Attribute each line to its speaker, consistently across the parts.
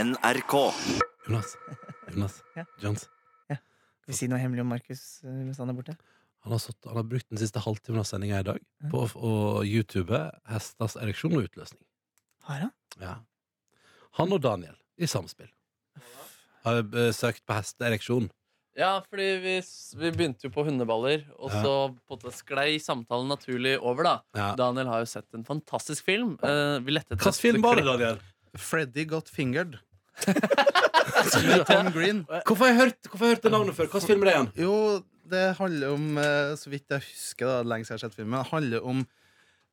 Speaker 1: NRK.
Speaker 2: Jonas. Jonas.
Speaker 3: Ja.
Speaker 2: Johns.
Speaker 3: Skal vi si noe hemmelig om Markus eh, mens han er borte?
Speaker 2: Han har, satt, han har brukt den siste halvtimen av sendinga i dag
Speaker 3: Ja.
Speaker 2: på å, å YouTube hesters ereksjon og utløsning.
Speaker 3: Har han?
Speaker 2: Ja. Han og Daniel i samspill. Har eh, søkt på hesteereksjon.
Speaker 4: Ja, fordi vi, s- vi begynte jo på hundeballer, og
Speaker 2: Ja.
Speaker 4: så på en måte sklei samtalen naturlig over, da.
Speaker 2: Ja.
Speaker 4: Daniel har jo sett en fantastisk film. Eh, vi lette etter
Speaker 2: Hvilken film var det, Daniel?
Speaker 5: Freddy Got Fingered. Med Tom Green.
Speaker 2: Hvorfor har jeg hørt, hvorfor har jeg hørt det navnet før? Hvilken film er det igjen?
Speaker 5: Jo, det handler om, eh, så vidt jeg husker, da, det er lenge siden jeg har sett filmen, det handler om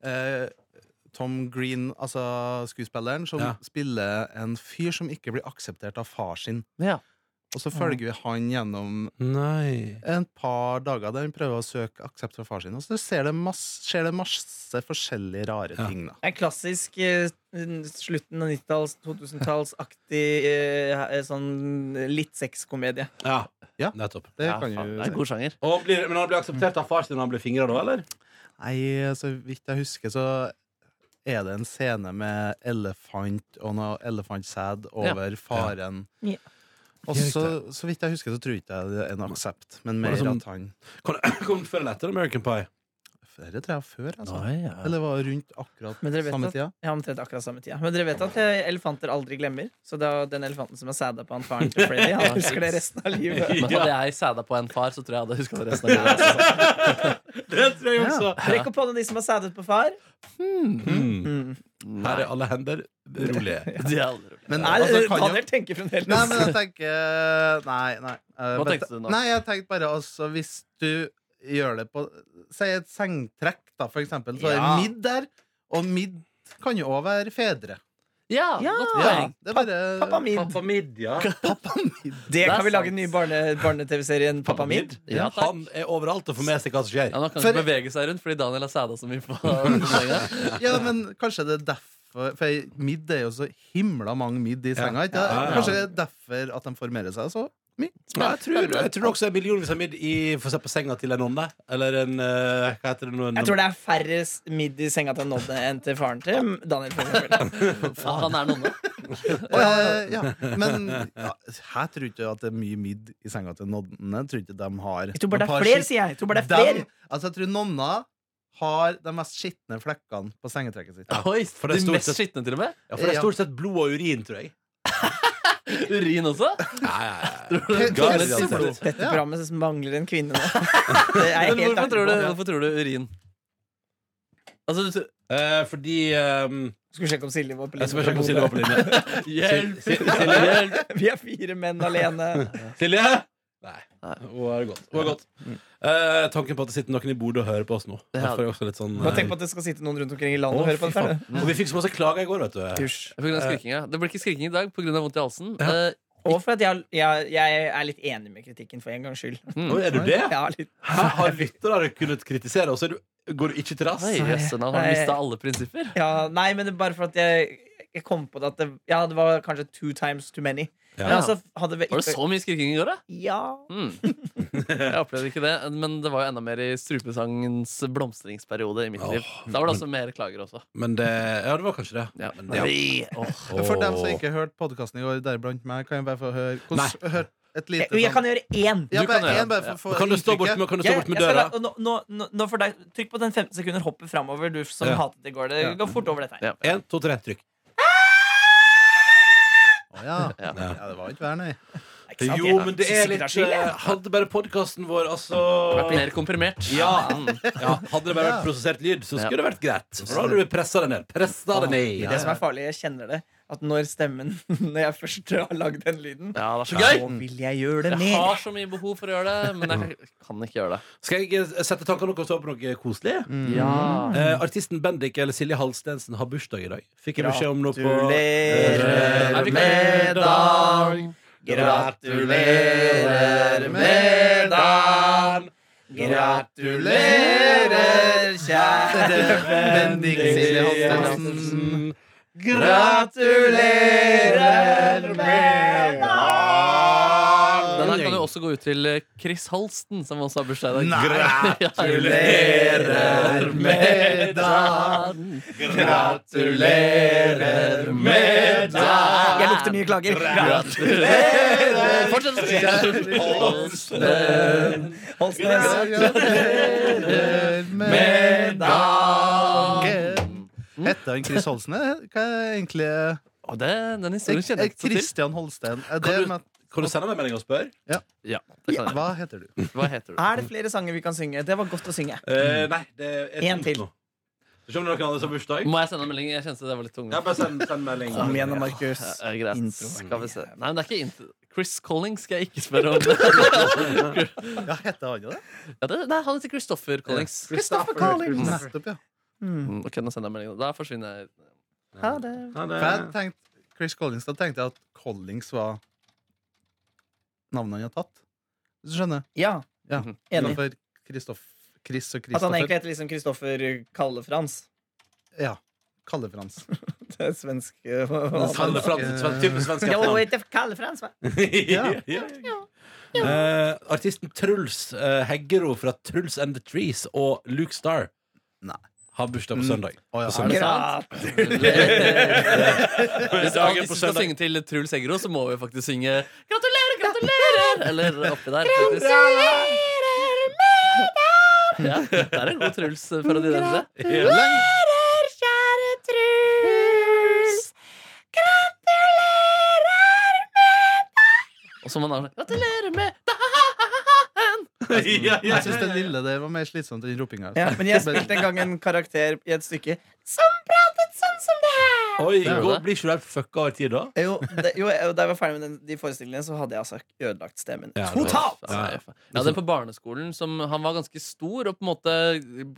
Speaker 5: eh, Tom Green, altså skuespilleren, som
Speaker 2: Ja.
Speaker 5: spiller en fyr som ikke blir akseptert av far sin.
Speaker 4: Ja.
Speaker 5: Og
Speaker 2: Mhm.
Speaker 5: så følger vi han gjennom
Speaker 2: Nei
Speaker 5: en par dager der han prøver å søke aksept fra far sin. Og så ser det masse, skjer det masse forskjellige rare
Speaker 2: Ja.
Speaker 5: ting. da
Speaker 3: En klassisk eh, slutten av 90-talls, 2000-tallsaktig eh, eh, sånn litt sexkomedie.
Speaker 2: Ja,
Speaker 5: Ja.
Speaker 2: nettopp.
Speaker 5: Det
Speaker 4: Ja,
Speaker 5: kan
Speaker 4: faen,
Speaker 5: jo
Speaker 4: det er god sjanger.
Speaker 2: Og blir, men han blir akseptert av far sin når han blir fingra, da, eller?
Speaker 5: Nei, så vidt jeg husker, så er det en scene med elefant og noe elefantsæd over faren.
Speaker 3: Ja.
Speaker 5: Og så, så vidt jeg husker, så tror ikke jeg det er en aksept,
Speaker 2: Var
Speaker 5: men mer
Speaker 2: det som-
Speaker 5: at han
Speaker 2: Kom, kom før eller etter American Pie?
Speaker 5: Flere tror jeg før, altså.
Speaker 4: ja.
Speaker 5: Eller var det rundt akkurat
Speaker 3: Men dere vet
Speaker 5: samme
Speaker 3: at-
Speaker 5: tida.
Speaker 3: Ja, omtrent akkurat samme tida. Men dere vet at eh, elefanter aldri glemmer? Så da den elefanten som er sæda på han faren til Freddy, han husker det resten av livet.
Speaker 4: Men hadde jeg sæda på en far, så tror jeg jeg hadde huska det resten av livet. altså.
Speaker 2: Det tror jeg
Speaker 3: Ja. Rekk opp hånda de som har sædet på far.
Speaker 2: Mm.
Speaker 3: Mm.
Speaker 2: Her er alle hender rolige.
Speaker 4: De er aldri-
Speaker 5: Men,
Speaker 3: Nei,
Speaker 5: altså, kan jo-
Speaker 3: Daniel tenker fremdeles.
Speaker 5: Nei, men jeg tenker Nei, nei. Eh,
Speaker 4: Hva
Speaker 5: men-
Speaker 4: tenkte du nå?
Speaker 5: Nei, jeg tenkte bare altså Hvis du gjør det på Si et sengtrekk, da, for eksempel. Så
Speaker 3: Ja.
Speaker 5: er midd der. Og midd kan jo òg være fedre.
Speaker 4: Ja,
Speaker 3: Ja.
Speaker 4: godt
Speaker 5: Ja,
Speaker 4: poeng.
Speaker 5: det er bare
Speaker 3: Pappa Mid.
Speaker 5: Pappa Mid.
Speaker 3: Det
Speaker 4: er
Speaker 3: kan vi lage den
Speaker 4: sant.
Speaker 3: nye barne, barne-TV-serien Pappa Mid.
Speaker 4: Ja, takk.
Speaker 2: han er overalt og får med seg hva som skjer.
Speaker 4: Ja, nå kan
Speaker 5: For-
Speaker 4: han ikke bevege seg rundt fordi Daniel har sæda så mye på senga.
Speaker 5: Ja, men kanskje det er derfor For midd er jo så himla mange midd i senga. Ikke?
Speaker 2: Ja, ja, ja.
Speaker 5: Kanskje det er derfor at de formerer seg så mye.
Speaker 2: Ja, jeg, tror, jeg tror det også er millionvis av midd i for eksempel senga til en nonne. Eller en eh, Hva heter det nå?
Speaker 3: Jeg tror det er færre s- midd i senga til Nodde enn til faren til Daniel. For eksempel.
Speaker 4: Ja, han er nonne.
Speaker 5: Eh, ja. Men ja, jeg tror ikke at det er mye midd i senga til noddene. Jeg tror ikke de har
Speaker 3: Jeg tror bare det
Speaker 5: et par
Speaker 3: er flere,
Speaker 5: skitt-
Speaker 3: sier jeg. Jeg tror bare det er
Speaker 5: Dem-
Speaker 3: flere.
Speaker 5: altså jeg tror nonna har de mest skitne flekkene på sengetrekket sitt.
Speaker 4: Oi,
Speaker 2: det er
Speaker 4: de
Speaker 2: stort
Speaker 4: mest
Speaker 2: sett-
Speaker 4: skitne, til og med.
Speaker 2: Ja, for det er stort sett blod og urin, tror jeg.
Speaker 4: Urin også.
Speaker 2: Ja, ja, ja.
Speaker 5: Pe-
Speaker 2: Garantert.
Speaker 5: Pesseblod.
Speaker 3: Dette
Speaker 5: Ja.
Speaker 3: programmet mangler en kvinne nå. Det er jeg
Speaker 4: Men
Speaker 3: helt
Speaker 4: hvorfor
Speaker 3: ærlig
Speaker 4: tror, du,
Speaker 3: på.
Speaker 4: hvorfor tror du urin? Altså, du,
Speaker 2: Eh, fordi ehm,
Speaker 3: Skulle sjekke om Silje var på
Speaker 2: Jeg skal bare sjekke om Silje
Speaker 3: linje.
Speaker 2: var på linje.
Speaker 4: Hjelp!
Speaker 2: Sil-
Speaker 4: Hjelp!
Speaker 3: Vi er fire menn alene.
Speaker 2: Silje? Nei. Hun har det godt. Hun har det godt. Eh, tanken på at det sitter noen i bordet og hører på oss nå.
Speaker 4: Ja.
Speaker 2: Derfor er jeg også litt sånn
Speaker 3: Bare
Speaker 2: eh,
Speaker 3: tenk på at det skal sitte noen rundt omkring i landet
Speaker 2: Å,
Speaker 3: og høre på
Speaker 2: fy
Speaker 3: dette. her.
Speaker 2: faen. Og vi fikk så masse klager i går, vet du.
Speaker 3: Hysj.
Speaker 4: På grunn av skriking, ja. Det blir ikke skriking i dag pga. vondt i halsen.
Speaker 2: Ja.
Speaker 4: Eh,
Speaker 3: Og for at jeg, jeg, jeg er litt enig med kritikken, for en gangs skyld.
Speaker 2: Nå er du det?
Speaker 3: Ja, litt.
Speaker 2: Hæ? Har lyttere kunnet kritisere, og så er du, går du ikke til dass?
Speaker 4: Oi, jøsse navn. Har
Speaker 3: Nei.
Speaker 4: mista alle prinsipper?
Speaker 3: Ja, nei, men det er bare for at jeg, jeg kom på det at det, ja, det var kanskje two times too many. Men
Speaker 2: Ja.
Speaker 3: altså, hadde vi
Speaker 4: Var det så mye skriking i går, da?
Speaker 3: Ja.
Speaker 4: Mm. Jeg opplevde ikke det, men det var jo enda mer i strupesangens blomstringsperiode i mitt
Speaker 2: Åh,
Speaker 4: liv. Da var det også mer klager også.
Speaker 2: Men det, ja, det var kanskje det.
Speaker 4: Ja.
Speaker 2: Men det-
Speaker 4: Åh.
Speaker 5: For dem som ikke hørte podkasten i går, deriblant meg, kan jeg bare få høre hvordan hørte
Speaker 3: Jeg,
Speaker 5: et lite
Speaker 3: jeg
Speaker 5: sånn-
Speaker 3: kan gjøre én.
Speaker 5: ja,
Speaker 4: Du
Speaker 5: bare,
Speaker 4: kan gjøre
Speaker 5: en, bare for, å få
Speaker 2: Kan du stå bort
Speaker 5: inntrykket.
Speaker 2: med, kan du stå
Speaker 3: Jeg-
Speaker 2: bort med
Speaker 3: jeg skal
Speaker 2: døra?
Speaker 3: la- nå, nå, nå, nå for deg, trykk på den 15 sekunder hoppet framover, du som
Speaker 2: Ja.
Speaker 3: hatet det i går. Det
Speaker 5: Ja.
Speaker 3: går fort over dette her.
Speaker 4: Ja.
Speaker 2: Én, to, tre, trykk.
Speaker 5: Å, ja.
Speaker 4: Ja.
Speaker 5: ja, det var ikke verre, nei.
Speaker 3: Ikke sant?
Speaker 2: Jo,
Speaker 3: Jeg
Speaker 2: men det
Speaker 3: synes
Speaker 2: er
Speaker 3: ikke
Speaker 2: litt
Speaker 3: skyld, jeg.
Speaker 2: eh, Hadde bare podkasten vår,
Speaker 4: Vært
Speaker 2: altså
Speaker 4: mer komprimert.
Speaker 2: Ja.
Speaker 4: Mm.
Speaker 2: ja, Hadde det bare vært prosessert lyd, så skulle det vært greit. For da hadde du pressa den ned. Pressa den ned.
Speaker 3: Det som er farlig, jeg kjenner det, at når stemmen Når jeg først har lagd den lyden,
Speaker 4: ja, det er så
Speaker 2: Ja.
Speaker 4: gøy!
Speaker 3: så vil jeg gjøre det
Speaker 4: Jeg
Speaker 3: mer.
Speaker 4: har så mye behov for å gjøre det, men jeg kan ikke gjøre det.
Speaker 2: Skal jeg eh, sette tankene deres over på noe koselig?
Speaker 3: Mm.
Speaker 2: Eh, artisten Bendik eller Silje Halstensen har bursdag i dag. Fikk jeg beskjed om noe på Eh,
Speaker 4: Nei, vi
Speaker 3: Gratulerer
Speaker 4: kan-
Speaker 3: med dagen! Gratulerer med dagen! Gratulerer, kjære
Speaker 5: Bendik Silje Hansen.
Speaker 2: Hansen.
Speaker 3: Gratulerer med
Speaker 4: Den her kan du også gå ut til eh, Chris Holsten, som også har bursdag i dag.
Speaker 5: Gratulerer med
Speaker 4: dagen!
Speaker 5: Gratulerer med dagen.
Speaker 6: Jeg lukter mye klager.
Speaker 4: Gratulerer! Fortsett å si det.
Speaker 6: Holsnes.
Speaker 5: Gratulerer med dagen. Heter han Chris Holsten? Hva er egentlig
Speaker 4: Og det, den historien kjenner jeg ikke så til.
Speaker 5: Kristian Holsten? Er det med,
Speaker 2: Kan du sende meg en melding og spørre?
Speaker 4: Ja, det kan jeg.
Speaker 5: hva heter du?
Speaker 4: Hva heter du?
Speaker 6: Er det flere sanger vi kan synge? Det var godt å synge.
Speaker 2: Eh, nei, det er
Speaker 6: En
Speaker 2: tomt
Speaker 6: til.
Speaker 2: nå. Skal vi se om det er noen andre som har bursdag?
Speaker 4: Må jeg sende en melding? Jeg kjente det var litt tung.
Speaker 2: Ja, bare send, send melding.
Speaker 6: Kom igjen, Markus.
Speaker 4: Ja, ja, greit.
Speaker 6: Intro.
Speaker 4: Skal vi se. Nei, men det er ikke intro. Chris Collings skal jeg ikke spørre om. ja,
Speaker 5: Ja, heter han jo det?
Speaker 4: det, nei, han heter Christopher Collings.
Speaker 2: Christopher Collins.
Speaker 5: Nettopp, ja.
Speaker 6: Mm.
Speaker 4: Mm, Ok, nå sender jeg melding. Da forsvinner jeg.
Speaker 6: Ha det.
Speaker 2: Ja, det
Speaker 5: For jeg tenkte, Chris Collins, da tenkte jeg at Collings var navnet han hadde tatt. Hvis du skjønner?
Speaker 6: Ja,
Speaker 5: Ja.
Speaker 6: enig.
Speaker 5: Innenfor Kristoff, Chris og
Speaker 6: At han egentlig
Speaker 5: Kristoffer.
Speaker 6: heter liksom Kristoffer Kalle-Frans.
Speaker 5: Ja. Kalle-Frans.
Speaker 6: Det er svensk eh,
Speaker 2: Kalle Frans, sven- type svensk
Speaker 6: Jo,
Speaker 2: etternavn.
Speaker 6: heter Kalle-Frans, hva?
Speaker 2: ja. Eh, artisten Truls eh, Heggero fra Truls and the Trees og Luke Star
Speaker 5: Nei.
Speaker 2: har bursdag på
Speaker 5: Mm.
Speaker 2: søndag. På
Speaker 5: Å, ja, er
Speaker 2: søndag.
Speaker 5: det
Speaker 6: Gratulerer.
Speaker 4: Hvis,
Speaker 2: Dagen
Speaker 4: hvis
Speaker 2: på
Speaker 4: vi skal
Speaker 2: søndag.
Speaker 4: synge til Truls Eggero, så må vi faktisk synge 'Gratulerer, gratulerer!' Eller oppi der. faktisk. Ja, det er en god Truls eh, for å dyrke det. Og så må man ha 'Gratulerer med dagen'.
Speaker 2: Ja, ja,
Speaker 5: Jeg syns den lille der var mer slitsomt enn ropinga.
Speaker 6: Ja, men jeg spilte en gang en karakter i et stykke som pratet sånn som det her.
Speaker 2: Oi,
Speaker 4: Det er jo
Speaker 2: går,
Speaker 4: det.
Speaker 2: blir ikke du helt fucka over tid da?
Speaker 6: Jo, det, jo, jeg- da jeg var ferdig med den, de forestillingene, så hadde jeg altså ødelagt stemmen.
Speaker 2: Ja, det var-
Speaker 6: Totalt!
Speaker 2: Ja.
Speaker 4: Ja, Jeg hadde en på barneskolen som han var ganske stor og på en måte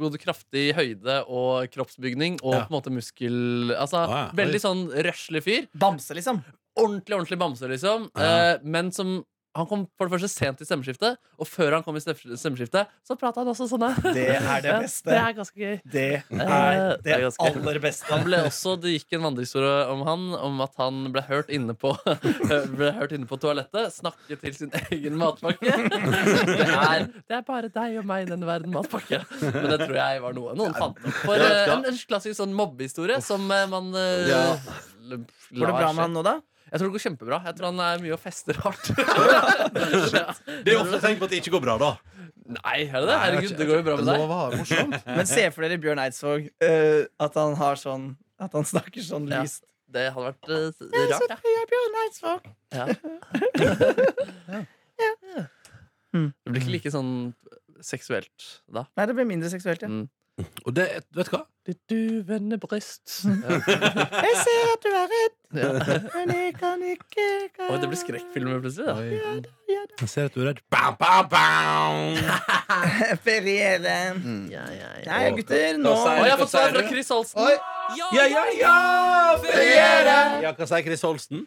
Speaker 4: både kraftig høyde og kroppsbygning og
Speaker 2: Ja.
Speaker 4: på en måte muskel Altså
Speaker 2: Ah, ja.
Speaker 4: veldig sånn røslig fyr.
Speaker 6: Bamse, liksom.
Speaker 4: Ordentlig, ordentlig bamse, liksom.
Speaker 2: Ja.
Speaker 4: Eh, men som han kom for det første sent i stemmeskiftet, og før han kom i stemmeskif- stemmeskiftet, så prata han også sånn her.
Speaker 6: Det er det
Speaker 4: Ja,
Speaker 6: beste.
Speaker 4: Det er ganske gøy.
Speaker 6: Det
Speaker 4: er Eh, det aller
Speaker 6: beste.
Speaker 4: Han ble også, Det gikk en vandrehistorie om han Om at han ble hørt inne på Ble hørt inne på toalettet snakke til sin egen matpakke. Det er, det er bare deg og meg i denne verden, matpakke. Men det tror jeg var noe noen fant opp. For eh, en, en klassisk sånn mobbehistorie som eh, man eh,
Speaker 2: Ja.
Speaker 4: l-
Speaker 6: Går det
Speaker 4: lar
Speaker 6: bra med han
Speaker 4: seg-
Speaker 6: nå, da?
Speaker 4: Jeg tror det går kjempebra. Jeg tror han er mye og fester hardt.
Speaker 2: Det er jo ofte tegn på at det ikke går bra, da.
Speaker 4: Nei, er det det? Herregud, det går jo bra med deg.
Speaker 5: Lov å ha det morsomt.
Speaker 4: Eh.
Speaker 6: Men se for dere Bjørn Eidsvåg, eh, at han har sånn At han snakker sånn
Speaker 4: Ja.
Speaker 6: lyst.
Speaker 4: Det hadde vært eh, rart, ja. ja. Det blir ikke like sånn seksuelt da.
Speaker 6: Mm. Nei, det blir mindre seksuelt, ja.
Speaker 4: Mm.
Speaker 2: Og det, vet du hva?
Speaker 4: Det duvende bryst.
Speaker 6: Jeg ser at du er redd,
Speaker 4: Ja.
Speaker 6: men jeg kan ikke
Speaker 4: Oi, det blir skrekkfilmer plutselig.
Speaker 5: Oi.
Speaker 2: Jeg ser at du er redd. Bam, bam, bam.
Speaker 6: Feriele.
Speaker 4: Da. Ja, ja, ja.
Speaker 6: Nei, gutter, nå
Speaker 2: Da sier-
Speaker 4: Oi, jeg har fått svar fra Chris Holsten.
Speaker 5: Oi.
Speaker 2: Ja, ja, ja! Feriere! Ja, hva sier Chris Holsten?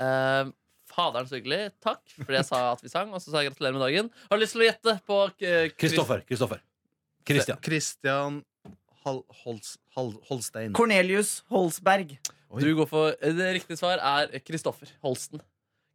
Speaker 4: Eh, Faderen så hyggelig. Takk fordi jeg sa at vi sang. Og så sa jeg gratulerer med dagen. Har du lyst til å gjette på eh, Chris-
Speaker 2: Kristoffer. Kristoffer. Kristian.
Speaker 5: Christian Hal Hols Hal Holstein.
Speaker 6: Cornelius Holsberg.
Speaker 4: Du går for eh, Det riktige svar er Kristoffer Holsten.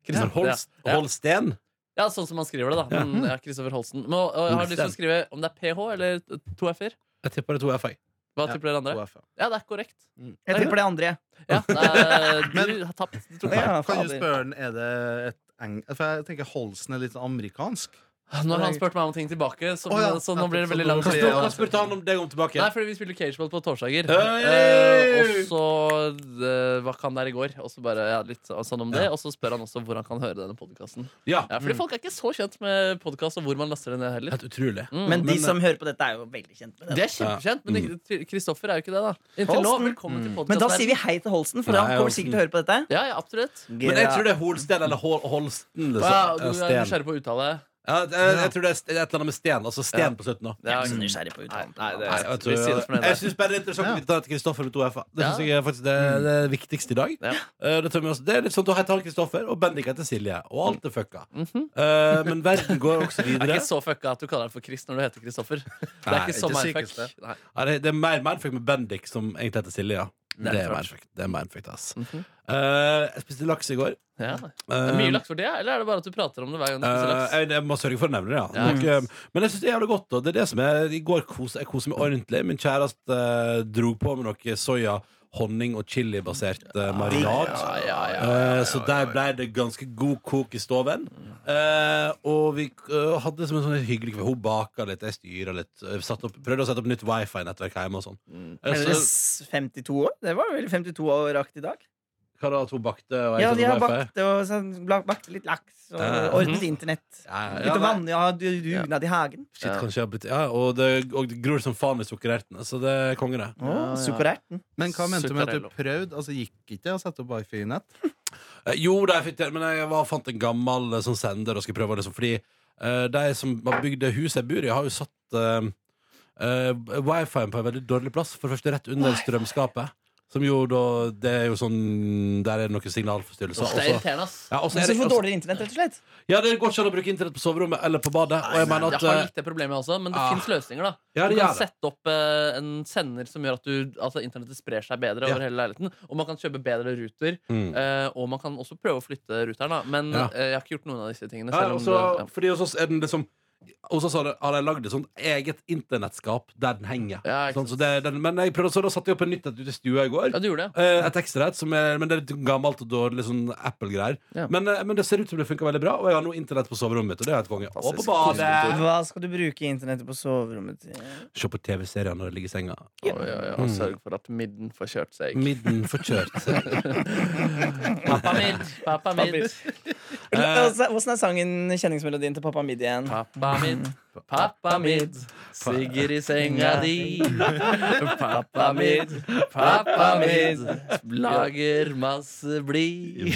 Speaker 2: Kristoffer Holst,
Speaker 4: Ja. Ja.
Speaker 2: Holsten.
Speaker 4: Ja, sånn som man skriver det, da. Men, ja, Kristoffer Holsten. Men, og, og, jeg har lyst til å skrive om det er PH eller to F-er.
Speaker 2: Jeg tipper det to F-er.
Speaker 4: Hva
Speaker 5: Ja,
Speaker 4: tipper dere andre?
Speaker 5: OFA.
Speaker 4: Ja, det er korrekt.
Speaker 6: Jeg tipper det andre.
Speaker 4: Ja, eh,
Speaker 5: Men-
Speaker 4: du har tapt. Du tok feil.
Speaker 6: Ja,
Speaker 5: Kan du
Speaker 6: fader.
Speaker 5: spørre den, er det et eng... For jeg tenker Holsten er litt sånn amerikansk.
Speaker 4: Nå har han spurt meg om ting tilbake, så,
Speaker 5: Å, ja.
Speaker 4: så nå blir det veldig
Speaker 5: Så
Speaker 4: lang
Speaker 5: nå blir
Speaker 4: tid.
Speaker 5: det-
Speaker 2: Hva spurte han om deg om tilbake?
Speaker 4: Nei, fordi vi spiller cageball på torsdager.
Speaker 2: Hei!
Speaker 4: Eh, og så eh, Hva kan der i går? Og så bare ja, litt så- sånn om det Og så spør han også hvor han kan høre denne podkasten.
Speaker 2: Ja, Mm.
Speaker 4: Ja, fordi folk er ikke så kjent med podkast og hvor man laster det ned heller.
Speaker 2: Helt utrolig.
Speaker 4: Mm.
Speaker 6: Men de
Speaker 2: Men- eh,
Speaker 6: som hører på dette, er jo veldig kjent med det.
Speaker 4: det er kjempekjent, men ikke- Kristoffer er jo ikke det, da. Inntil nå,
Speaker 6: Holsten.
Speaker 4: velkommen til podkasten.
Speaker 6: Mm. Men da sier vi hei til Holsten, for han
Speaker 2: Nei,
Speaker 6: kommer
Speaker 2: Holsten.
Speaker 6: sikkert til å høre på dette.
Speaker 4: ja, ja, absolutt.
Speaker 2: Men jeg tror det er Holsten eller Hol Holsten. Liksom.
Speaker 4: Ja, du
Speaker 2: Ja,
Speaker 4: er
Speaker 2: sten.
Speaker 4: nysgjerrig på å uttale.
Speaker 2: Ja, jeg, jeg tror det er st- et eller annet med sten. Altså sten
Speaker 4: Ja.
Speaker 2: på slutten. da
Speaker 4: Ja,
Speaker 6: Jeg er så nysgjerrig på
Speaker 4: Nei,
Speaker 6: uttalen.
Speaker 4: nei, det
Speaker 2: Nei, vet du,
Speaker 4: vi sier oss
Speaker 2: jeg
Speaker 4: fornøyd der.
Speaker 2: syns bare det er interessant at vi tar til Kristoffer med to F-er. Det
Speaker 4: Ja.
Speaker 2: synes jeg er faktisk det, det er det viktigste i dag.
Speaker 4: Ja.
Speaker 2: Eh, det, tar vi oss- det er litt sånn at heter han Kristoffer, og Bendik heter Silje. Og alt er fucka.
Speaker 4: Mhm.
Speaker 2: Eh, men verden går også
Speaker 4: Det er
Speaker 2: videre.
Speaker 4: ikke så fucka at du kaller deg for Chris når du heter Kristoffer. Det er
Speaker 2: Nei,
Speaker 4: ikke så
Speaker 5: ikke
Speaker 4: mindfuck.
Speaker 5: sykeste.
Speaker 4: Nei.
Speaker 2: Nei, det, det er mer mindfuck med Bendik, som egentlig heter Silje. Ja. Det er
Speaker 4: Derfor.
Speaker 2: mindfuck. Det er mindfuck, ass.
Speaker 4: Mhm.
Speaker 2: Eh, jeg spiste laks i går.
Speaker 4: Ja. Det er mye laks for det, eller er det bare at du prater om det hver gang du spiser
Speaker 2: Eh,
Speaker 4: laks?
Speaker 2: Um, jeg, jeg må sørge for å nevne det, ja.
Speaker 4: Ja.
Speaker 2: Nok, eh, men jeg syns det er jævlig godt. Og det er det som er, I går kos, jeg koset meg ordentlig. Min kjæreste eh, dro på med noe soya, honning og chilibasert uh, marinad.
Speaker 4: Ja, ja, ja.
Speaker 2: Eh, Så der ble det ganske god kok i stoven. Eh, og vi eh, hadde det som en sånn hyggelig kveld. Hun baka litt, jeg styra litt. eh, Satt opp, prøvde å sette opp nytt wifi-nettverk hjemme og sånn.
Speaker 4: Mm.
Speaker 2: Eh,
Speaker 6: Er dere
Speaker 2: så-
Speaker 6: s- 52 år? Det var vel 52-åraktig i dag?
Speaker 2: Hva da, at hun bakte? Og jeg
Speaker 6: Ja,
Speaker 2: satte
Speaker 6: de har
Speaker 2: opp wifi?
Speaker 6: bakt, og sånn, bla- bakt litt laks og
Speaker 2: Ja.
Speaker 6: ordnet internett.
Speaker 2: Ja, ja, ja,
Speaker 6: Litt ja,
Speaker 2: nei.
Speaker 6: vann, Mhm. ja, du- dugnad i hagen.
Speaker 2: Shit, kanskje jeg har blitt Ja, og det, og det gror som faen i sukkerertene, så det er konge, det.
Speaker 4: Ja, ja.
Speaker 6: Sukkererten.
Speaker 5: Men hva mente du med at du
Speaker 4: Zuccarello.
Speaker 5: prøvde? Altså Gikk ikke det å sette opp wifi-nett?
Speaker 2: Eh, Jo, da jeg fikk til, men jeg var, fant en gammel eh, sånn sender og skulle prøve det. så Fordi eh, de som har bygd det huset jeg bor i, har jo satt uh, wifi-en på en veldig dårlig plass. For det første rett under strømskapet. Som jo da Det er jo sånn Der er det noen signalforstyrrelser.
Speaker 4: Uff,
Speaker 2: og
Speaker 4: det er
Speaker 2: så-
Speaker 4: irriterende, ass.
Speaker 2: Ja, og så
Speaker 6: Men
Speaker 2: er
Speaker 6: så
Speaker 2: det-
Speaker 6: får
Speaker 2: og så-
Speaker 6: dårligere internett, rett og slett.
Speaker 2: ja, det går ikke an å bruke internett på soverommet eller på badet. Og jeg mener
Speaker 4: Jeg
Speaker 2: at
Speaker 4: har
Speaker 2: eh,
Speaker 4: litt det problemet også, men det
Speaker 2: ah.
Speaker 4: fins løsninger. da
Speaker 2: Ja,
Speaker 4: Du
Speaker 2: det
Speaker 4: kan
Speaker 2: gjør det.
Speaker 4: sette opp eh, en sender som gjør at du, altså, internettet sprer seg bedre
Speaker 2: Ja.
Speaker 4: over hele leiligheten. Og man kan kjøpe bedre ruter.
Speaker 2: Mm.
Speaker 4: eh, og man kan også prøve å flytte ruteren, da. Men
Speaker 2: Ja.
Speaker 4: eh, jeg har ikke gjort noen av disse tingene.
Speaker 2: Ja,
Speaker 4: Selv om
Speaker 2: og så-
Speaker 4: det,
Speaker 2: fordi hos oss er den liksom hos oss har de- har de lagd et sånt eget internettskap der den henger.
Speaker 4: Ja, ikke
Speaker 2: sånn, så det, er den, men jeg prøvde, så da satte jeg opp en nytt et ute i stua i går.
Speaker 4: ja, du gjorde det.
Speaker 2: Eh, Et ekstra et, som er, men det er litt gammelt og dårlig sånn Apple-greier.
Speaker 4: Ja.
Speaker 2: Men, eh, men det ser ut som det funker veldig bra, og jeg har nå internett på soverommet mitt. Og det er helt konge. Og på
Speaker 4: Fantastisk.
Speaker 2: badet!
Speaker 6: Hva skal du bruke internettet på soverommet til?
Speaker 2: Se på TV-serier når jeg ligger i senga.
Speaker 4: Oi, oi, oi,
Speaker 2: Mm.
Speaker 4: og sørg for at midden får kjørt seg.
Speaker 2: Midden forkjørt.
Speaker 4: Pappa midd, pappa midd,
Speaker 6: Åssen altså, er sangen, kjenningsmelodien til Pappa Midi igjen?
Speaker 4: pappa midd. Pappa midd, sigger i senga di. Pappa midd, pappa midd, lager masse blid.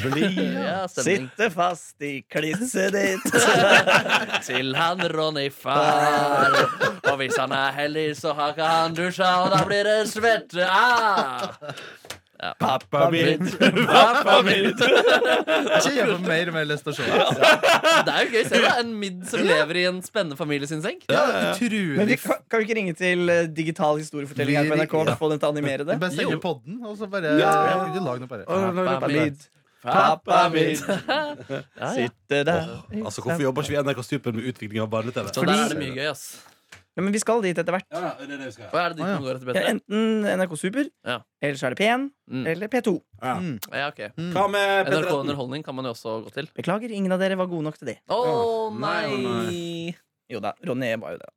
Speaker 4: Ja, stemning.
Speaker 6: Sitte fast i klisset ditt.
Speaker 4: Til han Ronny far. Og hvis han er heldig, så har ikke han dusja, og da blir det svette. Ah! Ja.
Speaker 2: Pappa
Speaker 4: mitt, pappa mitt.
Speaker 5: Ikke gjør meg mer og mer lyst til å se det.
Speaker 4: Det er jo gøy. Se da, en midd som lever i en spennende familie sin seng.
Speaker 5: Ja,
Speaker 6: Men vi,
Speaker 5: utrolig.
Speaker 6: kan, kan vi ikke ringe til eh, digital historiefortelling her på NRK og få dem til å animere det?
Speaker 5: Bare
Speaker 4: Jo.
Speaker 5: sende podden, og så bare
Speaker 2: Ja.
Speaker 5: Du lager noe bare.
Speaker 4: Pappa mitt,
Speaker 6: Pappa mitt.
Speaker 4: Ja, ja.
Speaker 6: Sitte der.
Speaker 2: Altså, hvorfor jobber ikke vi i NRK Stupen med utvikling av barne-TV?
Speaker 4: Så der er det mye gøy, ass.
Speaker 6: Nei, men vi skal dit etter hvert.
Speaker 2: Ja, ja, det er det vi skal gjøre.
Speaker 4: Hva er det ditt som går etter
Speaker 6: Ja,
Speaker 4: bedre?
Speaker 6: enten NRK Super,
Speaker 4: Ja.
Speaker 6: eller så er det P1,
Speaker 4: Mm.
Speaker 6: eller P2.
Speaker 2: Ja.
Speaker 4: Ja, ok.
Speaker 2: Hva med
Speaker 4: NRK
Speaker 2: P13?
Speaker 4: Underholdning kan man jo også gå til.
Speaker 6: Beklager, ingen av dere var gode nok til det.
Speaker 4: Å
Speaker 2: Nei,
Speaker 4: nei!
Speaker 6: Jo da, Ronny var jo det.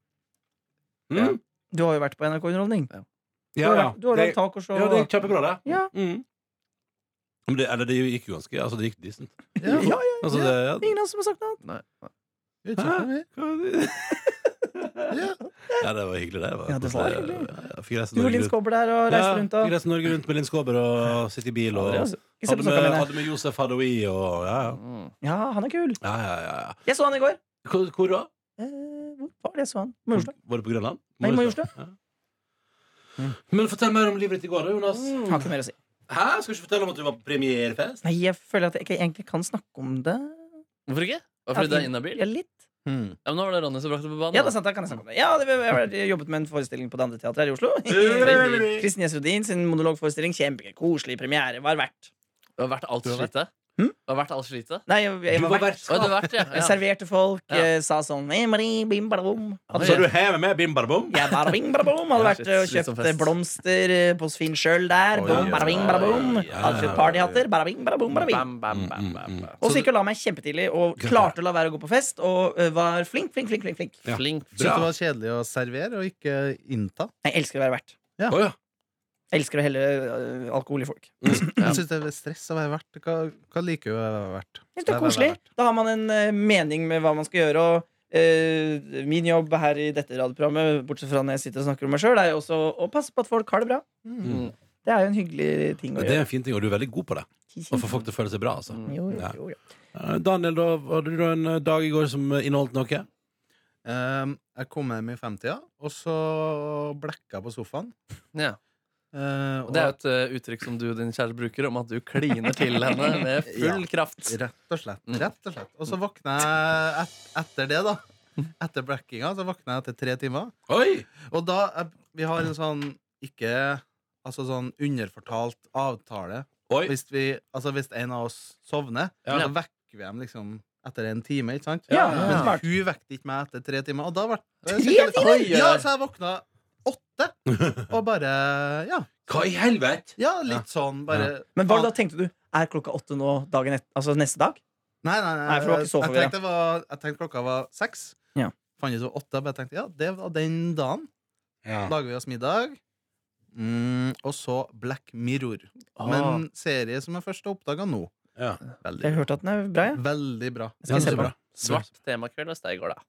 Speaker 2: Mm?
Speaker 6: Du har jo vært på NRK Underholdning. Du
Speaker 2: Ja,
Speaker 6: har,
Speaker 2: ja.
Speaker 6: du har
Speaker 2: Det-
Speaker 6: lagd tacoshow.
Speaker 2: Ja, det gikk kjempebra, det.
Speaker 6: Ja.
Speaker 2: Mm. Men det, eller det gikk jo ganske Altså, det gikk decent.
Speaker 5: Ja.
Speaker 6: Ja, ja,
Speaker 2: Altså, det, ja.
Speaker 6: Ingen av oss som har sagt noe.
Speaker 4: Nei.
Speaker 5: Vi kjøper det. Ja.
Speaker 2: ja, det var hyggelig, det.
Speaker 6: Ja, det var hyggelig.
Speaker 2: Jeg fikk reise
Speaker 6: Du og
Speaker 2: Norge
Speaker 6: Linn
Speaker 2: rundt.
Speaker 6: Skåber der og
Speaker 2: Ja,
Speaker 6: reiste rundt
Speaker 2: fikk
Speaker 6: og
Speaker 2: reise Norge rundt med Linn Skåber og sitte i bil. Og,
Speaker 6: Ja,
Speaker 2: hadde,
Speaker 6: altså, ikke se på sokkene
Speaker 2: med,
Speaker 6: mine.
Speaker 2: hadde med Josef Hadoui og ja, ja.
Speaker 4: Mm.
Speaker 6: Ja, han er kul.
Speaker 2: ja, ja, ja, ja.
Speaker 6: Jeg så han i går. Mm.
Speaker 2: Hvor, hvor da?
Speaker 6: Eh, hvor var det jeg så han? Mosjøen.
Speaker 2: Var det på Grønland?
Speaker 6: Nei, Majorstuen.
Speaker 2: Ja. Men fortell mer om livet ditt i går, da, Jonas.
Speaker 6: Har ikke noe mer å si.
Speaker 2: Hæ? Skal du ikke fortelle om at du var på premierefest?
Speaker 6: Nei, jeg føler at jeg ikke egentlig kan snakke om det.
Speaker 4: Hvorfor ikke? Var det fordi du er inhabil?
Speaker 6: Ja, litt.
Speaker 5: Hmm.
Speaker 4: Ja, men nå var det Ronny som brakte det på banen.
Speaker 6: Ja, det
Speaker 4: da.
Speaker 6: er sant, da kan jeg snakke om det. Ja, det, jeg har jobbet med en forestilling på Det andre teatret her i Oslo.
Speaker 2: Veldig.
Speaker 6: Kristin Gjess Rodin sin monologforestilling. Kjempekoselig premiere. Var verdt.
Speaker 4: Du har vært alt slitet?
Speaker 6: Hm?
Speaker 4: Du har vært alt slitet?
Speaker 6: Nei, jeg, jeg
Speaker 2: Du
Speaker 6: var
Speaker 2: var
Speaker 6: verdt.
Speaker 4: Å, du har vært, ja.
Speaker 6: Jeg
Speaker 4: ja.
Speaker 6: serverte folk,
Speaker 4: Ja.
Speaker 6: eh, sa sånn hey, Marie, bim, badabom. Hadde
Speaker 2: Så
Speaker 4: Ja.
Speaker 2: du hever med bim bada bom?
Speaker 6: Jeg bare bing, bada bom. Hadde
Speaker 4: Ja,
Speaker 6: vært eh, og
Speaker 4: shit, slitsom
Speaker 6: kjøpt eh,
Speaker 4: fest.
Speaker 6: blomster eh, på Finn sjøl der.
Speaker 5: Oi,
Speaker 6: Bom,
Speaker 5: oi,
Speaker 6: bada bing,
Speaker 4: oi,
Speaker 6: bada bom.
Speaker 4: oi,
Speaker 6: Hadde kjøpt partyhatter. Bada bing, bada bom, bada bing.
Speaker 4: Bam, bam, bam, bam, bam.
Speaker 6: Og så gikk jeg og la meg kjempetidlig og klarte å la være å gå på fest. Og eh, var flink, flink, flink. flink, flink.
Speaker 2: Ja.
Speaker 4: Flink.
Speaker 5: Syns det
Speaker 2: Bra.
Speaker 5: var kjedelig å servere og ikke innta?
Speaker 6: Jeg elsker å være vert.
Speaker 2: Å ja.
Speaker 6: Jeg elsker å helle eh, alkohol i folk.
Speaker 5: Jeg syns det er stress å være vert. Hva, hva liker du å være vert?
Speaker 6: Jeg synes
Speaker 5: Hva
Speaker 6: det er
Speaker 5: er
Speaker 6: koselig.
Speaker 5: vert?
Speaker 6: Da har man en eh, mening med hva man skal gjøre. Og eh, min jobb her i dette radioprogrammet, bortsett fra når jeg sitter og snakker om meg sjøl, er jo også å passe på at folk har det bra.
Speaker 5: Mm.
Speaker 6: Det er jo en hyggelig ting å
Speaker 2: Det er
Speaker 6: gjøre.
Speaker 2: en fin ting, og du er veldig god på det. Å få folk til å føle seg bra, altså.
Speaker 6: Mm, Jo, jo,
Speaker 2: Ja.
Speaker 6: jo, jo.
Speaker 2: Eh, Daniel, da, hadde du da en eh, dag i går som eh, inneholdt noe?
Speaker 5: Um, jeg kom hjem i femtida, og så blekka jeg på sofaen.
Speaker 4: Ja.
Speaker 5: Uh,
Speaker 4: Og det er jo et eh, uttrykk som du og din kjære bruker, om at du kliner til henne med full
Speaker 5: Ja.
Speaker 4: kraft.
Speaker 5: Rett og slett.
Speaker 4: Mm.
Speaker 5: Rett og slett. Og så våkna jeg et, etter det, da. Etter blekkinga så våkna jeg etter tre timer.
Speaker 2: Oi!
Speaker 5: Og da er, Vi har en sånn ikke altså sånn underfortalt avtale.
Speaker 2: Oi.
Speaker 5: Hvis, vi, altså hvis en av oss sovner,
Speaker 2: Ja.
Speaker 5: da vekker vi dem liksom etter en time. ikke sant?
Speaker 2: Ja.
Speaker 6: Ja,
Speaker 5: Men
Speaker 6: smart.
Speaker 5: hun vekket ikke meg etter tre timer. Og da ble
Speaker 6: Tre
Speaker 5: skikkelig-
Speaker 6: timer?
Speaker 5: Oi, Ja, så jeg våkna åtte, og bare Ja,
Speaker 2: Hva i helvete?
Speaker 5: ja litt sånn. Bare
Speaker 6: Men hva da tenkte du? Er klokka åtte nå dagen et, altså neste dag?
Speaker 5: Nei, nei, nei,
Speaker 6: Nei, for du var ikke så
Speaker 5: jeg,
Speaker 6: forvirret.
Speaker 5: tenkte det var, jeg tenkte klokka var seks.
Speaker 6: Ja.
Speaker 5: Fant ut det var åtte, men jeg tenkte ja, det var den dagen.
Speaker 2: Ja.
Speaker 5: Lager vi oss middag. Mm, og så Black Mirror.
Speaker 6: Ah.
Speaker 5: Men serie som jeg først har oppdaga nå.
Speaker 2: Ja.
Speaker 5: Veldig
Speaker 6: Jeg
Speaker 5: bra.
Speaker 6: hørte at den er bra. jeg.
Speaker 5: Veldig bra.
Speaker 6: Skal jeg se på?
Speaker 4: Svart temakveld hos deg i går, da.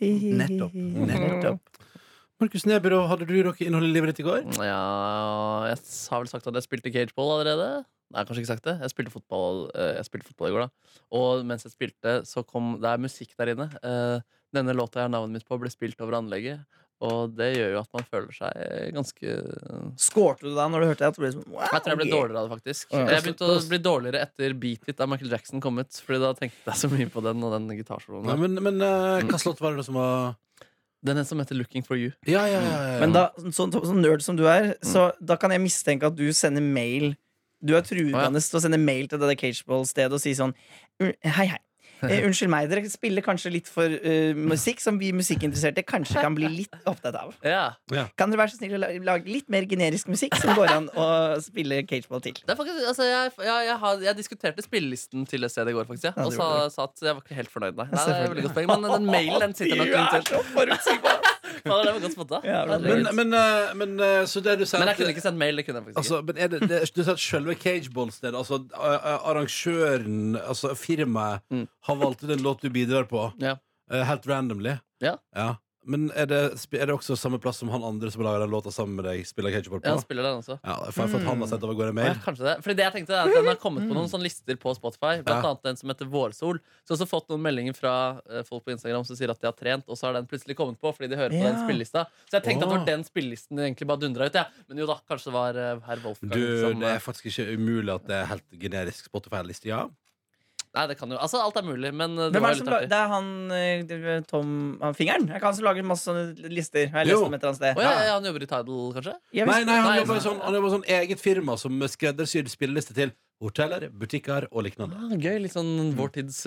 Speaker 5: Nettopp.
Speaker 6: Nettopp.
Speaker 2: Mhm. Markus Neby, da, hadde du noe innhold i livet ditt i går?
Speaker 4: Ja, jeg har vel sagt at jeg spilte cageball allerede. Nei, jeg har kanskje ikke sagt det. Jeg spilte fotball, eh, jeg spilte fotball i går, da. Og mens jeg spilte, så kom Det er musikk der inne. Eh, Denne låta jeg har navnet mitt på, ble spilt over anlegget. Og det gjør jo at man føler seg ganske Jeg
Speaker 6: Skårte du da når du hørte det? At du ble sånn, wow,
Speaker 4: tror jeg ble
Speaker 6: yeah.
Speaker 4: dårligere av det, faktisk.
Speaker 6: Ja.
Speaker 4: Jeg begynte å bli dårligere etter Beat It av Michael Jackson kom ut. Fordi da tenkte jeg så mye på den og den
Speaker 2: Nei,
Speaker 4: gitarsoloen. der.
Speaker 2: men men eh, hva slott var det som var
Speaker 4: Den som heter Looking for You.
Speaker 2: Ja, ja, ja. ja.
Speaker 6: Men da, sånn, sånn nerd som du er, så da kan jeg mistenke at du sender mail Du
Speaker 4: Å,
Speaker 6: er
Speaker 4: ja.
Speaker 6: truende til å sende mail til det der cageball-stedet og si sånn "Un- Hei, hei. Eh, unnskyld meg, dere spiller kanskje litt for eh, musikk som vi musikkinteresserte kanskje kan bli litt opptatt av.
Speaker 4: Ja,
Speaker 6: Kan dere være så snill å la- lage litt mer generisk musikk som går an å spille cageball til?
Speaker 4: Det er faktisk, altså jeg, jeg, jeg, har, jeg diskuterte spillelisten til det stedet i går, faktisk. Ja.
Speaker 6: Ja,
Speaker 4: og
Speaker 6: det
Speaker 4: sa,
Speaker 6: gjorde
Speaker 4: sa at jeg var ikke helt fornøyd, nei. nei
Speaker 6: Ja,
Speaker 4: det er et
Speaker 6: selvfølgelig.
Speaker 4: veldig godt poeng, men den mailen den sitter nok
Speaker 6: Du er
Speaker 4: rundt
Speaker 6: så forutsigbar!
Speaker 4: Fader, det var godt spotta.
Speaker 6: Ja, bra.
Speaker 4: Herregud.
Speaker 2: men, men, eh, men eh, så det du sier
Speaker 4: Men jeg
Speaker 2: at-
Speaker 4: kunne ikke sendt mail. det kunne jeg faktisk ikke
Speaker 2: Altså, men er det, det, du sier at selve cageball-stedet, altså a- a- arrangøren, altså firmaet,
Speaker 4: Mm.
Speaker 2: har valgt ut en låt du bidrar på,
Speaker 4: Ja.
Speaker 2: eh, helt randomly?
Speaker 4: Ja.
Speaker 2: Men er det, sp- er det også samme plass som han andre som lager den låta sammen med deg, spiller cageball på?
Speaker 4: Jeg spiller den også.
Speaker 2: Ja, for, for at han har sendt over gårde
Speaker 4: Ja,
Speaker 2: mail?
Speaker 4: kanskje det. Fordi det jeg tenkte er at Den har kommet på noen sånne lister på Spotify. Blant
Speaker 2: Ja.
Speaker 4: annet den som heter Vårsol. Så jeg har også fått noen meldinger fra eh, folk på Instagram som sier at de har trent, og så har den plutselig kommet på fordi de hører på
Speaker 6: Ja.
Speaker 4: den spillelista. Så jeg tenkte at det
Speaker 2: Åh.
Speaker 4: var den spillelisten de egentlig bare dundra ut. Ja. Men jo da, kanskje det var eh, herr Wolfgang
Speaker 2: Du,
Speaker 4: som eh,
Speaker 2: det er faktisk ikke umulig at det er helt generisk Spotify-liste. Ja.
Speaker 4: Nei, det kan jo Altså, alt er mulig, men eh, det
Speaker 6: Hvem er
Speaker 4: var
Speaker 6: det, som
Speaker 4: litt
Speaker 6: la,
Speaker 4: artig.
Speaker 6: det er han eh, det- Tom han, Fingeren? Det er ikke han som lager masse sånne lister? Har jeg
Speaker 2: Jo.
Speaker 6: lest om et eller annet sted?
Speaker 4: Å ja, ja, han jobber i Tidal, kanskje?
Speaker 6: Jeg
Speaker 2: Nei,
Speaker 6: visste-
Speaker 2: nei, han
Speaker 4: Nei,
Speaker 2: jobber i
Speaker 4: nei.
Speaker 2: sånn, han jobber i sånn eget firma som skreddersyr spilleliste til hoteller, butikker og lignende.
Speaker 4: Ah, gøy. Litt sånn vår tids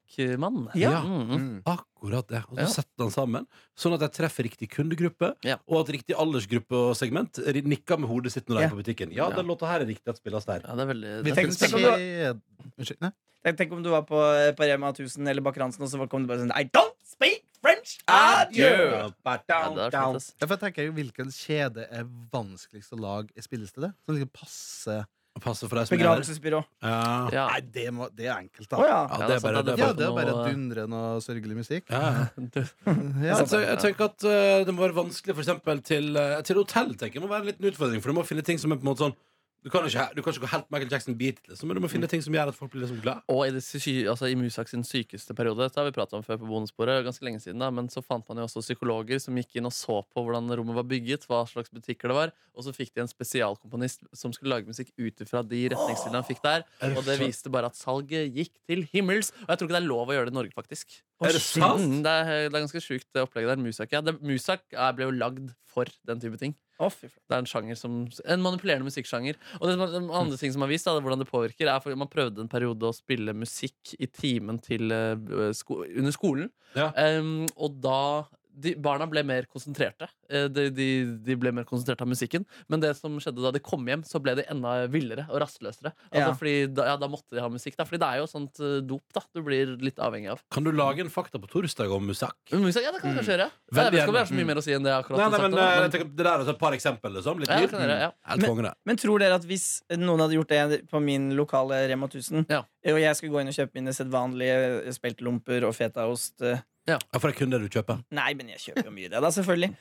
Speaker 4: Musak-mann.
Speaker 6: Ja.
Speaker 4: Mm.
Speaker 5: Mm.
Speaker 2: Akkurat det. Og så
Speaker 4: Ja.
Speaker 2: setter han sammen, sånn at jeg treffer riktig kundegruppe,
Speaker 4: Ja.
Speaker 2: og at riktig aldersgruppe og segment ri- nikker med hodet sitt når de
Speaker 6: Ja.
Speaker 2: er på butikken. Ja,
Speaker 4: Ja.
Speaker 2: den låta her er riktig at spilles der.
Speaker 4: ja det er veldig
Speaker 5: Vi
Speaker 4: det er
Speaker 5: tenkte
Speaker 6: tenker-
Speaker 4: spennende.
Speaker 5: kjed... Unnskyld. Nei.
Speaker 6: Tenk, tenk om du var på, eh, på Rema 1000 eller Baker Hansen, og så kom det bare sånn I don't speak French! Adieu!
Speaker 4: Ja, det er fint, ass.
Speaker 5: Ja, for jeg tenker, Hvilken kjede er vanskeligst å lage et spillested? Sånn at det passer
Speaker 2: Passer for deg som lever.
Speaker 6: Begravelsesbyrå.
Speaker 2: Ja.
Speaker 4: Ja.
Speaker 5: Nei, det, må, det er enkelt,
Speaker 6: Å
Speaker 5: da.
Speaker 6: ja.
Speaker 2: Ja,
Speaker 4: Ja,
Speaker 2: det
Speaker 4: det
Speaker 2: er bare
Speaker 4: er
Speaker 2: det.
Speaker 4: sant, det
Speaker 2: er
Speaker 5: Ja,
Speaker 2: bare-
Speaker 5: det er
Speaker 4: noe-
Speaker 5: bare dundrende og sørgelig musikk.
Speaker 2: Ja. ja.
Speaker 5: Ja.
Speaker 2: Jeg, tenker, jeg tenker at eh, det må være vanskelig for eksempel til, eh, til hotell. tenker jeg må være en liten utfordring For du må finne ting som er på en måte sånn Du kan ikke, du kan ikke gå helt Michael Jackson beat, liksom, men du må finne ting som gjør at folk blir liksom glad.
Speaker 4: Og i, det sy altså, i Musak sin sykeste periode, det har vi pratet om før på bonussporet, ganske lenge siden da, men så fant man jo også psykologer som gikk inn og så på hvordan rommet var bygget, hva slags butikker det var, og så fikk de en spesialkomponist som skulle lage musikk ut ifra de retningslinjene han fikk der, og det viste bare at salget gikk til himmels, og jeg tror ikke det er lov å gjøre det i Norge, faktisk.
Speaker 2: Er det
Speaker 6: shit.
Speaker 2: sant?
Speaker 4: Mm, det, er, det er ganske sjukt det opplegget der, Musak. Ja. Det, Musak er, ble jo lagd for den type ting.
Speaker 6: Å, fy faen.
Speaker 4: Det er en sjanger som En manipulerende musikksjanger. Og det, som- den andre ting som har vist da, det er hvordan det påvirker, er for Man prøvde en periode å spille musikk i timen til, eh, sko under skolen.
Speaker 2: Ja.
Speaker 4: Em, og da de, Barna ble mer konsentrerte. Eh, de, de, de ble mer konsentrerte av musikken. Men det som skjedde da de kom hjem, så ble de enda villere og rastløsere. Altså,
Speaker 6: Ja.
Speaker 4: fordi da, ja, da måtte de ha musikk. Da. Fordi det er jo sånt eh, dop da du blir litt avhengig av.
Speaker 2: Kan du lage en fakta på torsdag om musikk?
Speaker 4: Men musikk, ja, det kan vi kanskje gjøre. Ja,
Speaker 2: Mm. Veldig
Speaker 4: jeg vet ikke om det er
Speaker 2: gjerne.
Speaker 4: så mye mer å si enn det jeg akkurat
Speaker 2: Nei,
Speaker 4: har
Speaker 2: nei,
Speaker 4: sagt.
Speaker 2: men,
Speaker 4: nå,
Speaker 2: eh, jeg
Speaker 4: men-
Speaker 2: tenker, det der er altså et par eksempler, liksom. Litt
Speaker 4: Ja,
Speaker 2: lyd.
Speaker 4: det kan dere, ja.
Speaker 2: Helt konge, det.
Speaker 6: Men tror dere at hvis noen hadde gjort det på min lokale Rema 1000,
Speaker 4: Ja.
Speaker 6: og jeg skulle gå inn og kjøpe mine sedvanlige speltlomper og fetaost eh,
Speaker 2: Ja, for det er kun det du kjøper.
Speaker 6: Nei, men jeg kjøper jo mye det, da, selvfølgelig.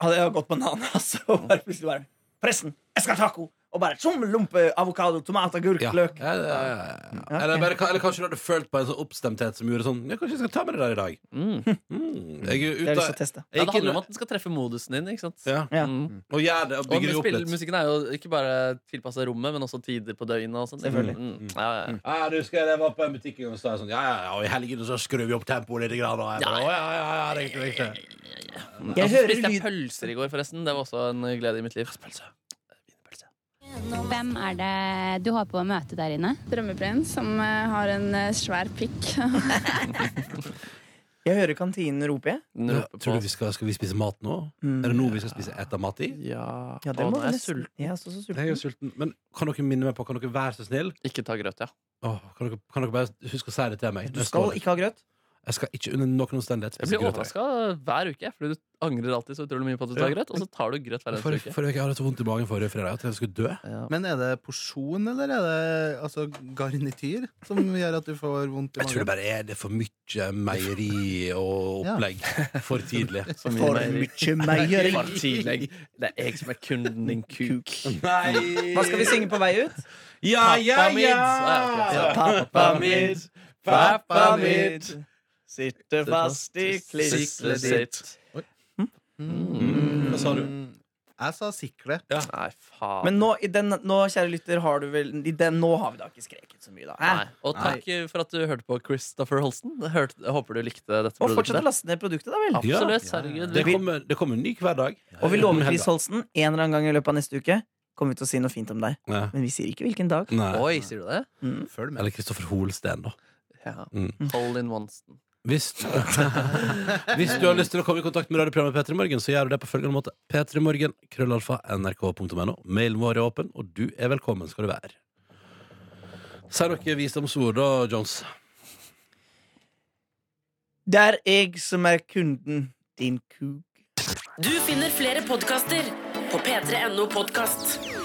Speaker 6: Hadde jeg gått bananas og bare plutselig bare Pressen! Jeg skal ha taco! Og bare tjom, lompe, avokado, tomat, agurk,
Speaker 2: Ja.
Speaker 6: løk.
Speaker 2: Ja, ja, ja, ja. Eller, bare, eller kanskje du hadde følt på en sånn oppstemthet som gjorde sånn Ja, kanskje jeg skal ta med det der i dag.
Speaker 4: Mm. liksom
Speaker 2: Mm. Jeg, er ute-
Speaker 6: Det har jeg lyst til å teste.
Speaker 4: Ja,
Speaker 2: jeg
Speaker 4: det
Speaker 2: gikk
Speaker 4: handler om
Speaker 2: inn
Speaker 4: at den skal treffe modusen din. ikke sant?
Speaker 2: ja,
Speaker 6: Ja.
Speaker 4: Mm.
Speaker 2: og gjør det, og
Speaker 4: Og
Speaker 2: bygger det opp
Speaker 4: spill,
Speaker 2: litt.
Speaker 4: musikken er jo ikke bare tilpassa rommet, men også tider på døgnet. og sånt.
Speaker 6: Selvfølgelig.
Speaker 4: Mm. Ja, ja, ja.
Speaker 2: Ja, du husker jeg, jeg var på en butikk en gang og sa sånn Ja, ja, ja, og i helgene så skrur vi opp tempoet litt. Grann, og jeg bare, «Å,
Speaker 4: Ja,
Speaker 2: ja, ja, ja, riktig, riktig.
Speaker 4: Mm. Og
Speaker 6: Jeg
Speaker 4: så
Speaker 6: hører
Speaker 4: spiste jeg
Speaker 6: lyd-
Speaker 4: pølser i går, forresten. Det var også en glede i mitt liv.
Speaker 1: Hvem er det du håper å møte der inne?
Speaker 7: Drømmeprins som eh, har en eh, svær pikk.
Speaker 6: Jeg hører kantinen rope, jeg.
Speaker 4: Den
Speaker 2: Ja,
Speaker 4: roper på
Speaker 2: tror du
Speaker 4: oss.
Speaker 2: vi skal, skal vi spise mat nå?
Speaker 6: Mm.
Speaker 2: Er det nå vi skal spise et av mat i?
Speaker 4: Ja,
Speaker 6: Ja, det
Speaker 4: å,
Speaker 6: må
Speaker 4: nå er
Speaker 6: vi
Speaker 4: jeg
Speaker 6: nesten-
Speaker 4: sulten.
Speaker 6: Jeg er også så
Speaker 2: Jeg er
Speaker 6: sulten.
Speaker 2: sulten. Men kan dere minne meg på, kan dere være så snill?
Speaker 4: Ikke ta grøt, ja.
Speaker 2: Åh, kan, dere, kan dere bare huske å si det til meg?
Speaker 6: Du skal ikke ha grøt.
Speaker 2: Jeg skal ikke under noen omstendighet
Speaker 4: Jeg
Speaker 2: spise
Speaker 4: blir
Speaker 2: grøt.
Speaker 4: overraska hver uke, Fordi du angrer alltid så utrolig mye på at du tar
Speaker 2: Ja.
Speaker 4: grøt. Og så tar du grøt hver eneste
Speaker 2: Forrige
Speaker 4: uke.
Speaker 2: forrige uke jeg hadde så vondt i magen forrige fredag at jeg skulle dø.
Speaker 4: Ja.
Speaker 5: Men er det porsjon, eller er det altså, garnityr som gjør at du får vondt i
Speaker 2: Jeg tror det
Speaker 5: magen?
Speaker 2: bare er det er for mye meieri og
Speaker 5: Ja.
Speaker 2: opplegg for tidlig.
Speaker 4: Så mye
Speaker 6: For
Speaker 4: mer-
Speaker 6: mye meieri.
Speaker 4: For tidlig. Det er jeg som er kunden din, kuk.
Speaker 2: Nei
Speaker 6: Hva skal vi synge på vei ut?
Speaker 2: Ja, ja,
Speaker 4: Pappa mitt. Ah,
Speaker 2: ja!
Speaker 4: ok, så-
Speaker 6: Pappa mitt, pappa mitt sitter fast i
Speaker 4: Siklet
Speaker 6: klistret sitt.
Speaker 2: Hva sa du?
Speaker 5: Mm, Jeg sa sikle.
Speaker 4: Nei, faen.
Speaker 6: Men nå, i den, nå, kjære lytter, har du vel i den, Nå har vi da ikke skreket så mye, da. Hæ?
Speaker 4: Nei. Og takk for at du hørte på Christopher Holsten. Hørt, jeg håper du likte dette
Speaker 6: Og fortsett å
Speaker 4: produktet.
Speaker 6: laste ned produktet, da vel.
Speaker 2: Ja.
Speaker 4: Absolutt. Herregud.
Speaker 2: Det
Speaker 4: Vi-
Speaker 2: kommer, det kommer en ny hver dag.
Speaker 6: Og vi lover
Speaker 2: Helga.
Speaker 6: Chris Holsten en eller annen gang i løpet av neste uke kommer vi til å si noe fint om deg.
Speaker 2: Ja.
Speaker 6: Men vi sier ikke hvilken dag.
Speaker 2: Nei.
Speaker 4: Oi, sier du det?
Speaker 6: Mm.
Speaker 5: Følg med.
Speaker 2: Eller Kristoffer Holsten, da.
Speaker 4: Ja.
Speaker 2: Mm.
Speaker 4: Colin Wonston.
Speaker 2: Hvis, hvis du har lyst til å komme i kontakt med radioprogrammet P3 Morgen, så gjør du det på følgende måte. P3morgen, krøllalfa, nrk.no. Mailen vår er åpen, og du er velkommen, skal du være. Si noe visdomsord, da, Jones.
Speaker 6: Det er jeg som er kunden, din kuk.
Speaker 3: Du finner flere podkaster på p3.no podkast.